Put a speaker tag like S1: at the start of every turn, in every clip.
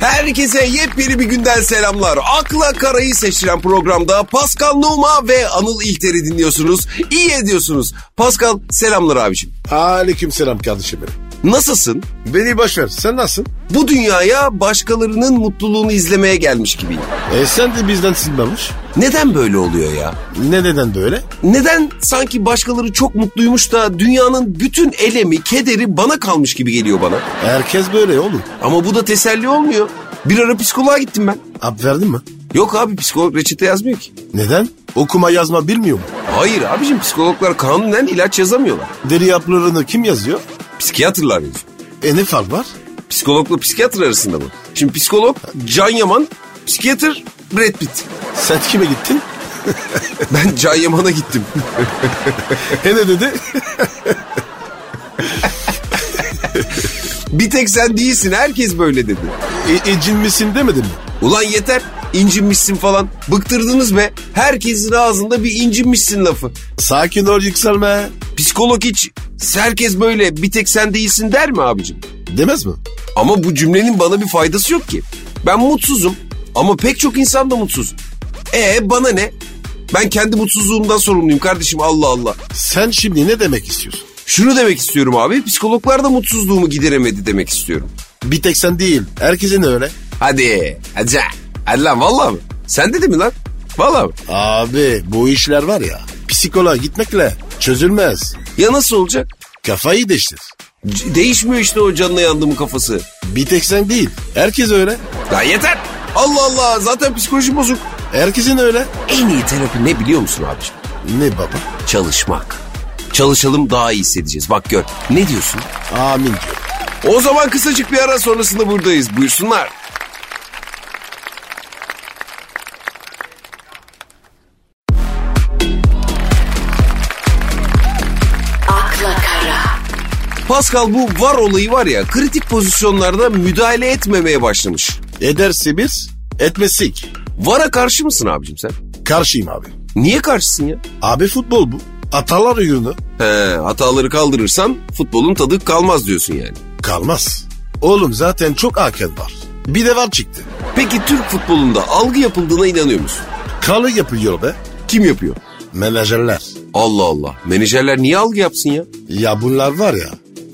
S1: Herkese yepyeni bir günden selamlar. Akla Karayı seçilen programda Pascal Numa ve Anıl İlter'i dinliyorsunuz. İyi ediyorsunuz. Pascal selamlar abicim.
S2: Aleyküm selam kardeşim benim.
S1: Nasılsın?
S2: Beni boş ver. Sen nasılsın?
S1: Bu dünyaya başkalarının mutluluğunu izlemeye gelmiş gibiyim.
S2: E sen de bizden sinmemiş.
S1: Neden böyle oluyor ya?
S2: Ne neden böyle?
S1: Neden sanki başkaları çok mutluymuş da dünyanın bütün elemi, kederi bana kalmış gibi geliyor bana?
S2: Herkes böyle oğlum.
S1: Ama bu da teselli olmuyor. Bir ara psikoloğa gittim ben.
S2: Ab verdin mi?
S1: Yok abi psikolog reçete yazmıyor ki.
S2: Neden? Okuma yazma bilmiyor mu?
S1: Hayır abicim psikologlar kanunen ilaç yazamıyorlar.
S2: Deri yapılarını kim yazıyor?
S1: Psikiyatrlar yazıyor.
S2: E ne fark var?
S1: Psikologla psikiyatr arasında mı? Şimdi psikolog Can Yaman, psikiyatr Brad Pitt.
S2: Sen kime gittin?
S1: Ben Can Yaman'a gittim.
S2: E ne dedi?
S1: Bir tek sen değilsin herkes böyle dedi.
S2: E, ecin misin demedin mi?
S1: Ulan yeter incinmişsin falan. Bıktırdınız be. Herkesin ağzında bir incinmişsin lafı.
S2: Sakin ol yükselme.
S1: Psikolog hiç herkes böyle bir tek sen değilsin der mi abicim?
S2: Demez mi?
S1: Ama bu cümlenin bana bir faydası yok ki. Ben mutsuzum ama pek çok insan da mutsuz. E bana ne? Ben kendi mutsuzluğumdan sorumluyum kardeşim Allah Allah.
S2: Sen şimdi ne demek istiyorsun?
S1: Şunu demek istiyorum abi psikologlar da mutsuzluğumu gideremedi demek istiyorum.
S2: Bir tek sen değil. Herkesin öyle.
S1: Hadi hadi hadi lan valla mı? Sen dedi mi lan? Valla mı?
S2: Abi bu işler var ya. Psikoloğa gitmekle çözülmez.
S1: Ya nasıl olacak?
S2: Kafayı değiştir.
S1: C- değişmiyor işte o canına yandığımın kafası.
S2: Bir tek sen değil. Herkes öyle.
S1: Ya yeter. Allah Allah zaten psikolojim bozuk.
S2: Herkesin öyle.
S1: En iyi terapi ne biliyor musun abiciğim?
S2: Ne baba?
S1: Çalışmak. Çalışalım daha iyi hissedeceğiz. Bak gör. Ne diyorsun?
S2: Amin diyor.
S1: O zaman kısacık bir ara sonrasında buradayız. Buyursunlar.
S3: akla kara,
S1: Pascal bu var olayı var ya kritik pozisyonlarda müdahale etmemeye başlamış.
S2: Ederse bir, etmesik.
S1: Vara karşı mısın abicim sen?
S2: Karşıyım abi.
S1: Niye karşısın ya?
S2: Abi futbol bu. Atalar oyunu
S1: He, hataları kaldırırsan futbolun tadı kalmaz diyorsun yani.
S2: kalmaz. Oğlum zaten çok hakem var. Bir de var çıktı.
S1: Peki Türk futbolunda algı yapıldığına inanıyor musun?
S2: Kalı yapılıyor be.
S1: Kim yapıyor?
S2: Menajerler.
S1: Allah Allah. Menajerler niye algı yapsın ya?
S2: Ya bunlar var ya.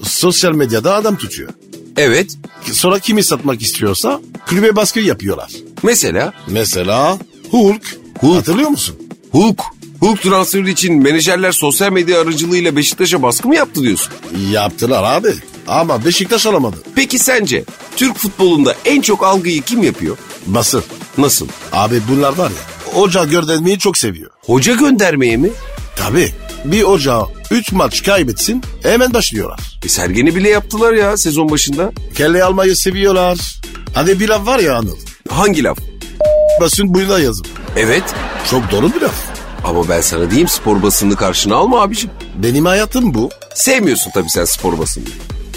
S2: Sosyal medyada adam tutuyor.
S1: Evet.
S2: Sonra kimi satmak istiyorsa kulübe baskı yapıyorlar.
S1: Mesela
S2: Mesela Hulk. Hulk. Hatırlıyor musun?
S1: Hulk. Hulk transferi için menajerler sosyal medya aracılığıyla Beşiktaş'a baskı mı yaptı diyorsun?
S2: Yaptılar abi. Ama Beşiktaş alamadı.
S1: Peki sence Türk futbolunda en çok algıyı kim yapıyor?
S2: Basın.
S1: Nasıl?
S2: Abi bunlar var ya. Hoca gördenmeyi çok seviyor.
S1: Hoca göndermeye mi?
S2: Tabii. Bir ocağı 3 maç kaybetsin hemen başlıyorlar.
S1: E, Sergen'i bile yaptılar ya sezon başında.
S2: Kelle almayı seviyorlar. Hani bir laf var ya Anıl.
S1: Hangi laf?
S2: Basın buyuna yazın.
S1: Evet.
S2: Çok doğru bir laf.
S1: Ama ben sana diyeyim spor basını karşına alma abiciğim.
S2: Benim hayatım bu.
S1: Sevmiyorsun tabii sen spor basını.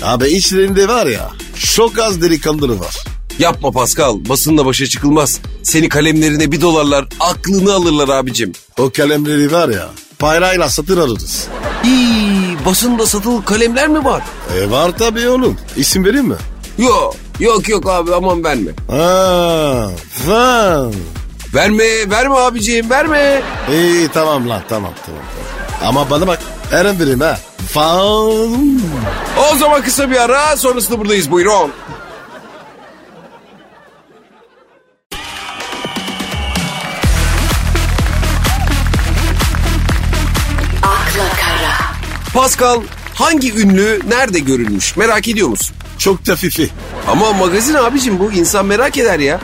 S2: Abi içlerinde var ya çok az delikanlı var.
S1: Yapma Pascal basınla başa çıkılmaz. Seni kalemlerine bir dolarlar aklını alırlar abicim.
S2: O kalemleri var ya parayla satın alırız.
S1: İyi basında satılık kalemler mi var?
S2: E var tabii oğlum. İsim vereyim mi?
S1: Yok yok yok abi aman verme.
S2: Ha, ha.
S1: Verme verme abiciğim verme.
S2: İyi tamam lan tamam tamam. tamam. Ama bana bak Eren vereyim ha. Fan.
S1: O zaman kısa bir ara sonrasında buradayız buyurun.
S3: akla kara,
S1: Pascal hangi ünlü nerede görülmüş merak ediyor musun?
S2: Çok tefifi.
S1: Ama magazin abicim bu insan merak eder ya.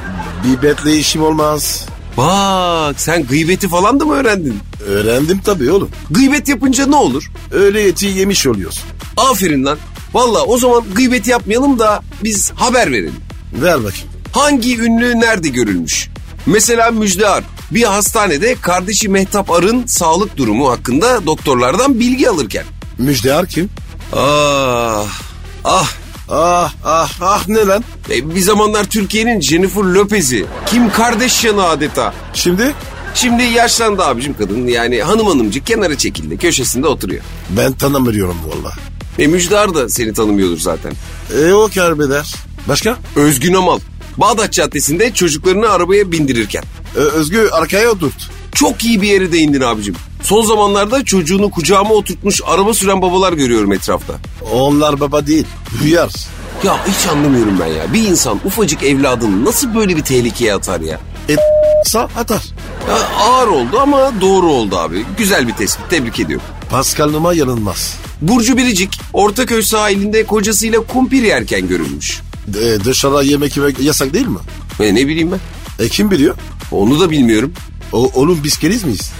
S2: Bibetle işim olmaz.
S1: Bak sen gıybeti falan da mı öğrendin?
S2: Öğrendim tabii oğlum.
S1: Gıybet yapınca ne olur?
S2: Öyle eti yemiş oluyorsun.
S1: Aferin lan. Valla o zaman gıybet yapmayalım da biz haber verelim.
S2: Ver bakayım.
S1: Hangi ünlü nerede görülmüş? Mesela Müjde Ar bir hastanede kardeşi Mehtap Ar'ın sağlık durumu hakkında doktorlardan bilgi alırken.
S2: Müjdear kim?
S1: Ah, ah
S2: Ah ah ah ne lan?
S1: E, bir zamanlar Türkiye'nin Jennifer Lopez'i. Kim Kardashian'ı adeta.
S2: Şimdi
S1: Şimdi yaşlandı abicim kadın. Yani hanım hanımcık kenara çekildi. Köşesinde oturuyor.
S2: ben tanımıyorum valla.
S1: E Müjdar da seni tanımıyordur zaten.
S2: E o kerbeder. Başka?
S1: Özgün Amal. Bağdat Caddesi'nde çocuklarını arabaya bindirirken.
S2: Ö- E, Özgü arkaya oturt.
S1: Çok iyi bir yere değindin abicim. Son zamanlarda çocuğunu kucağıma oturtmuş araba süren babalar görüyorum etrafta.
S2: Onlar baba değil. Hıyar.
S1: Ya hiç anlamıyorum ben ya. Bir insan ufacık evladını nasıl böyle bir tehlikeye atar ya?
S2: E sa atar.
S1: ya ağır oldu ama doğru oldu abi. Güzel bir tespit. Tebrik ediyorum.
S2: Pascal Numa yanılmaz.
S1: Burcu Biricik, Ortaköy sahilinde kocasıyla kumpir yerken görülmüş.
S2: E, dışarıda yemek yemek yasak değil mi?
S1: E, ne bileyim ben?
S2: E kim biliyor?
S1: Onu da bilmiyorum.
S2: O, oğlum biz keriz miyiz?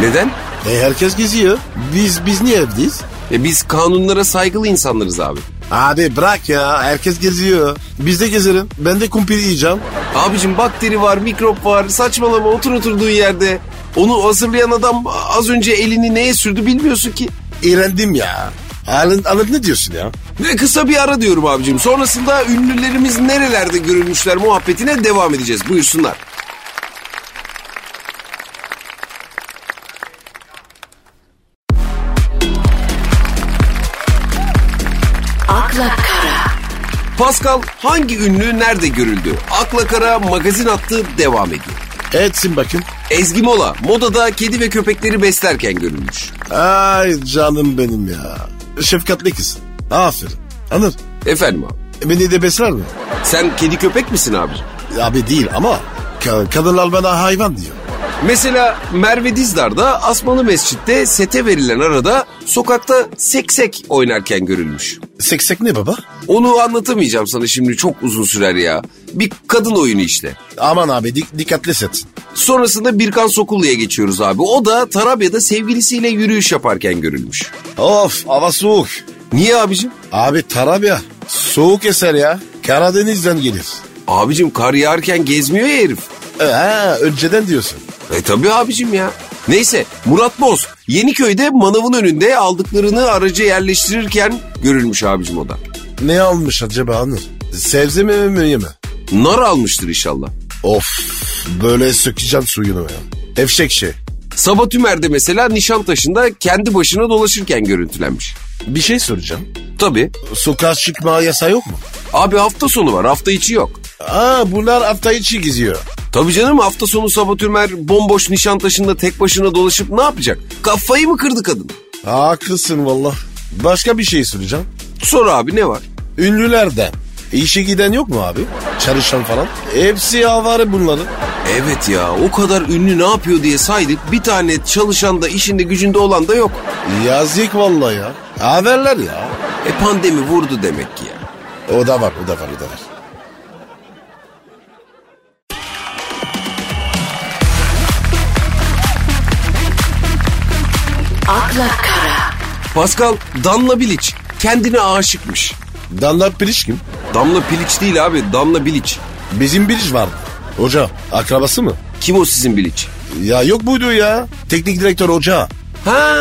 S1: Neden?
S2: E herkes geziyor. Biz biz niye evdeyiz?
S1: E, biz kanunlara saygılı insanlarız abi.
S2: Abi bırak ya herkes geziyor. Biz de gezerim. Ben de kumpir yiyeceğim.
S1: Abicim bakteri var, mikrop var. Saçmalama otur oturduğun yerde. Onu hazırlayan adam az önce elini neye sürdü bilmiyorsun ki.
S2: İğrendim ya. Alın, alın ne diyorsun ya?
S1: Ve kısa bir ara diyorum abicim. Sonrasında ünlülerimiz nerelerde görülmüşler muhabbetine devam edeceğiz. Buyursunlar.
S3: akla kara,
S1: Pascal hangi ünlü nerede görüldü? Akla Kara magazin attı devam ediyor.
S2: Etsin bakayım.
S1: Ezgi Mola modada kedi ve köpekleri beslerken görülmüş.
S2: Ay canım benim ya. Şefkatli kız. Aferin. Anır.
S1: Efendim abi
S2: Beni de besler mi?
S1: sen kedi köpek misin abi?
S2: Abi değil ama ka- kadınlar bana hayvan diyor.
S1: Mesela Merve Dizdar da Asmalı Mescid'de sete verilen arada sokakta seksek oynarken görülmüş.
S2: Seksek ne baba?
S1: Onu anlatamayacağım sana şimdi çok uzun sürer ya. Bir kadın oyunu işte.
S2: Aman abi dik- dikkatli set.
S1: Sonrasında Birkan Sokullu'ya geçiyoruz abi. O da Tarabya'da sevgilisiyle yürüyüş yaparken görülmüş.
S2: Of hava soğuk.
S1: Niye abicim?
S2: Abi Tarabya soğuk eser ya. Karadeniz'den gelir.
S1: Abicim kar yağarken gezmiyor ya herif.
S2: E, Ha, önceden diyorsun.
S1: E tabii abicim ya. Neyse Murat Boz Yeniköy'de manavın önünde aldıklarını araca yerleştirirken görülmüş abicim o da.
S2: Ne almış acaba Anır? Sebze mi mi mi?
S1: Nar almıştır inşallah.
S2: Of böyle sökeceğim suyunu ya. Efşek şey.
S1: Sabah Tümer'de mesela Nişantaşı'nda kendi başına dolaşırken görüntülenmiş.
S2: Bir şey soracağım.
S1: Tabii.
S2: Sokağa çıkma yasağı yok mu?
S1: Abi hafta sonu var hafta içi yok.
S2: Aa bunlar hafta içi geziyor.
S1: Tabii canım hafta sonu Sabah Tümer bomboş Nişantaşı'nda tek başına dolaşıp ne yapacak? Kafayı mı kırdı kadın?
S2: Haklısın valla. Başka bir şey soracağım.
S1: Sor abi ne var?
S2: Ünlülerden işe giden yok mu abi? Çalışan falan. Hepsi avare bunların.
S1: Evet ya o kadar ünlü ne yapıyor diye saydık bir tane çalışan da işinde gücünde olan da yok.
S2: Yazık valla ya. Haberler ya.
S1: E pandemi vurdu demek ki ya.
S2: O da var, o da var, o da var.
S3: akla kara,
S1: Pascal Damla Bilic kendine aşıkmış.
S2: Danlar Piliç kim?
S1: Damla Piliç değil abi Damla Bilic.
S2: Bizim Piliç vardı. Hoca, akrabası mı?
S1: Kim o sizin Bilic?
S2: Ya yok buydu ya. Teknik direktör hoca.
S1: Ha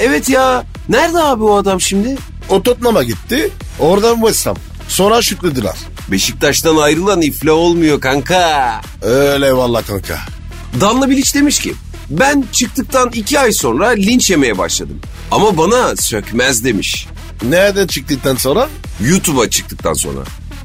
S1: evet ya. Nerede abi o adam şimdi?
S2: O Tottenham'a gitti. Oradan West Ham. Sonra şükrediler.
S1: Beşiktaş'tan ayrılan ifla olmuyor kanka.
S2: Öyle valla kanka.
S1: Danla Bilic demiş ki ben çıktıktan iki ay sonra linç yemeye başladım. Ama bana sökmez demiş.
S2: Nereden çıktıktan sonra?
S1: YouTube'a çıktıktan sonra.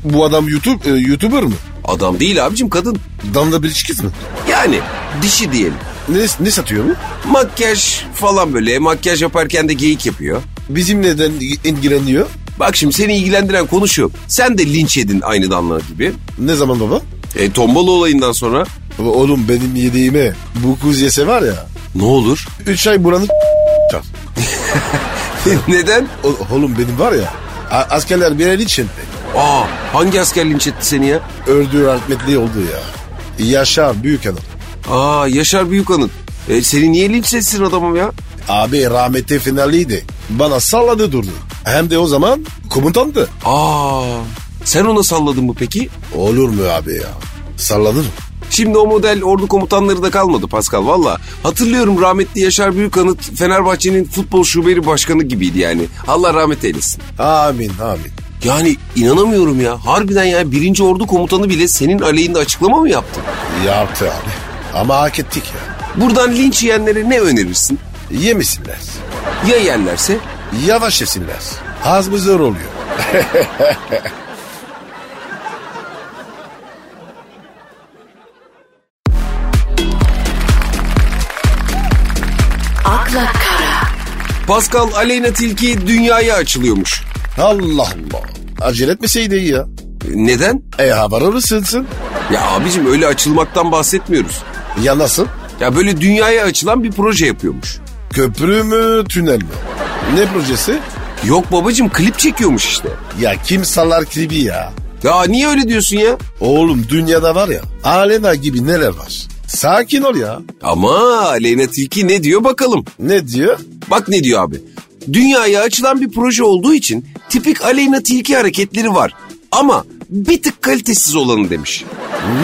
S2: Bu adam YouTube, e, YouTuber mı?
S1: Adam değil abicim kadın.
S2: Danla Piliç kız mı?
S1: Yani dişi diyelim.
S2: Ne, ne satıyor mu?
S1: Makyaj falan böyle. Makyaj yaparken de geyik yapıyor.
S2: Bizim neden ilgileniyor?
S1: Bak şimdi seni ilgilendiren konu şu. Sen de linç yedin aynı Danla gibi.
S2: Ne zaman baba?
S1: E, tombalı olayından sonra
S2: Oğlum benim yediğime bu kuz yese var ya.
S1: ne olur?
S2: Üç ay buranın çal.
S1: Neden?
S2: O- Oğlum benim var ya. a- Askerler bir el için
S1: Aa hangi asker linç etti seni ya?
S2: öldü rahmetli oldu ya. Yaşar büyük adam.
S1: Aa Yaşar Büyükan'ın. E, seni niye linç etsin adamım ya?
S2: Abi rahmetli finaliydi. Bana salladı durdu. Hem de o zaman komutandı.
S1: Aa sen ona salladın mı peki?
S2: Olur mu abi ya? Sallanır mı?
S1: Şimdi o model ordu komutanları da kalmadı Pascal valla. Hatırlıyorum rahmetli Yaşar Büyükanıt Fenerbahçe'nin futbol şubeli başkanı gibiydi yani. Allah rahmet eylesin.
S2: Amin amin.
S1: Yani inanamıyorum ya. Harbiden ya birinci ordu komutanı bile senin aleyhinde açıklama mı yaptı?
S2: Yaptı abi. Ama hak ettik ya.
S1: Buradan linç yiyenlere ne önerirsin?
S2: Yemesinler.
S1: Ya yerlerse?
S2: Yavaş yesinler. Az mı zor oluyor?
S1: Pascal Aleyna Tilki dünyaya açılıyormuş.
S2: Allah Allah. Acele etmeseydi iyi ya.
S1: Neden?
S2: E haber arasınsın.
S1: Ya abicim öyle açılmaktan bahsetmiyoruz.
S2: Ya nasıl?
S1: Ya böyle dünyaya açılan bir proje yapıyormuş.
S2: Köprü mü tünel mi? Ne projesi?
S1: Yok babacım klip çekiyormuş işte.
S2: Ya kim sallar klibi ya?
S1: Ya niye öyle diyorsun ya?
S2: Oğlum dünyada var ya Alena gibi neler var? Sakin ol ya.
S1: Ama Aleyna Tilki ne diyor bakalım.
S2: Ne diyor?
S1: Bak ne diyor abi. Dünyaya açılan bir proje olduğu için tipik Aleyna Tilki hareketleri var. Ama bir tık kalitesiz olanı demiş.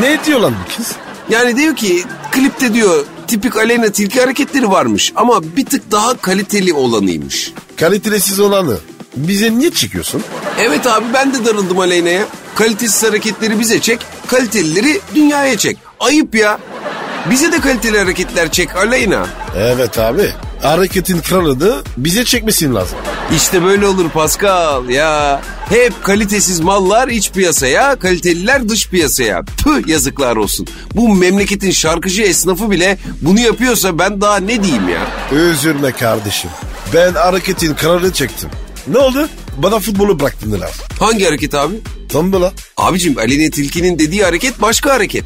S2: Ne diyor lan bu kız?
S1: Yani diyor ki klipte diyor tipik Aleyna Tilki hareketleri varmış ama bir tık daha kaliteli olanıymış.
S2: Kalitesiz olanı. Bize niye çıkıyorsun?
S1: Evet abi ben de darıldım Aleyna'ya. Kalitesiz hareketleri bize çek, kalitelileri dünyaya çek. Ayıp ya. Bize de kaliteli hareketler çek Aleyna.
S2: Evet abi. Hareketin kralını bize çekmesin lazım.
S1: İşte böyle olur Pascal ya. Hep kalitesiz mallar iç piyasaya, kaliteliler dış piyasaya. Tüh yazıklar olsun. Bu memleketin şarkıcı esnafı bile bunu yapıyorsa ben daha ne diyeyim ya.
S2: Üzülme kardeşim. Ben hareketin kralını çektim. Ne oldu? Bana futbolu bıraktın lan.
S1: Hangi hareket abi?
S2: Tombala.
S1: Abicim Aleyna Tilki'nin dediği hareket başka hareket.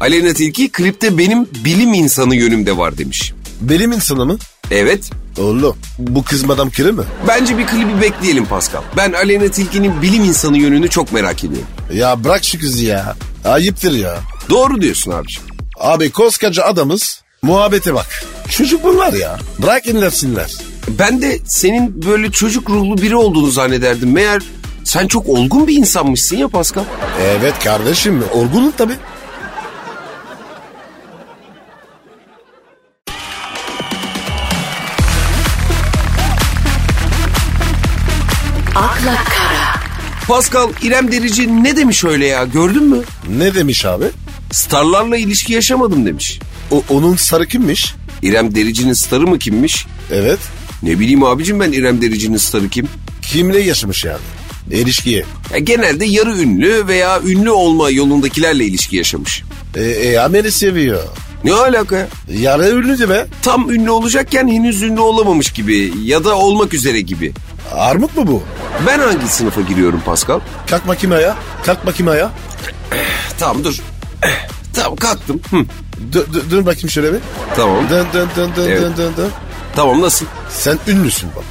S1: Aleyna Tilki klipte benim bilim insanı yönümde var demiş.
S2: Benim insanı mı?
S1: Evet.
S2: Oğlum bu kız madam kiri mi?
S1: Bence bir klibi bekleyelim Pascal. Ben Aleyna Tilki'nin bilim insanı yönünü çok merak ediyorum.
S2: Ya bırak şu kızı ya. Ayıptır ya.
S1: Doğru diyorsun abicim.
S2: Abi koskoca adamız muhabbete bak. Çocuk bunlar ya. Bırak inletsinler.
S1: Ben de senin böyle çocuk ruhlu biri olduğunu zannederdim. Meğer sen çok olgun bir insanmışsın ya Pascal.
S2: Evet kardeşim olgunum tabii.
S3: akla kara,
S1: Pascal İrem Derici ne demiş öyle ya gördün mü?
S2: Ne demiş abi?
S1: Starlarla ilişki yaşamadım demiş.
S2: O, onun sarı kimmiş?
S1: İrem Derici'nin starı mı kimmiş?
S2: Evet.
S1: Ne bileyim abicim ben İrem Derici'nin starı kim?
S2: Kimle yaşamış yani? İlişkiye.
S1: Ya genelde yarı ünlü veya ünlü olma yolundakilerle ilişki yaşamış.
S2: E, e ameli seviyor.
S1: Ne alaka ya?
S2: Yara ünlüydü be.
S1: Tam ünlü olacakken henüz ünlü olamamış gibi ya da olmak üzere gibi.
S2: Armut mu bu?
S1: Ben hangi sınıfa giriyorum Pascal?
S2: Kalk bakayım ayağa. Kalk bakayım ayağa.
S1: Tamam dur. tamam kalktım. Hı,
S2: Dö- dö- dön bakayım şöyle bir.
S1: tamam.
S2: Dön dön dön dön
S1: Evet.
S2: dön dön dön.
S1: Tamam nasıl?
S2: Sen ünlüsün baba.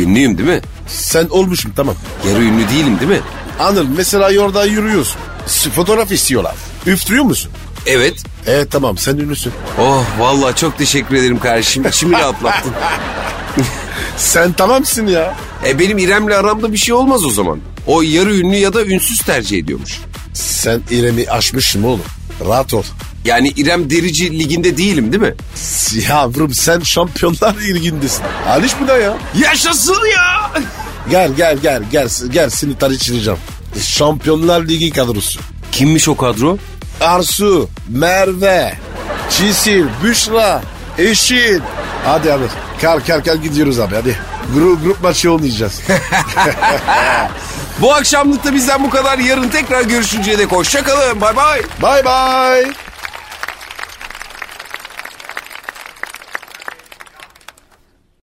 S1: Ünlüyüm değil mi?
S2: Sen olmuşum tamam.
S1: Yarı ünlü değilim değil mi?
S2: Anıl mesela yolda yürüyorsun. S- Fotoğraf istiyorlar. Üftürüyor musun?
S1: Evet.
S2: E tamam sen ünlüsün.
S1: Oh vallahi çok teşekkür ederim kardeşim. İçimi rahatlattın.
S2: Sen tamamsın ya.
S1: e benim İrem'le aramda bir şey olmaz o zaman. O yarı ünlü ya da ünsüz tercih ediyormuş.
S2: Sen İrem'i aşmışsın oğlum. Rahat ol.
S1: Yani İrem Derici liginde değilim değil mi?
S2: Yavrum sen şampiyonlar ilgindesin. Aliş bu da ya.
S1: Yaşasın ya!
S2: Gel gel gel gel gel seni tarihçileyeceğim. Şampiyonlar Ligi kadrosu.
S1: Kimmiş o kadro?
S2: Arsu, Merve, Çisil, Büşra, Eşin. Hadi abi. Kalk kalk kalk gidiyoruz abi hadi. Grup, grup maçı oynayacağız.
S1: Bu akşamlıkta bizden bu kadar. Yarın tekrar görüşünceye dek hoşçakalın. Bay bay.
S2: bye bye.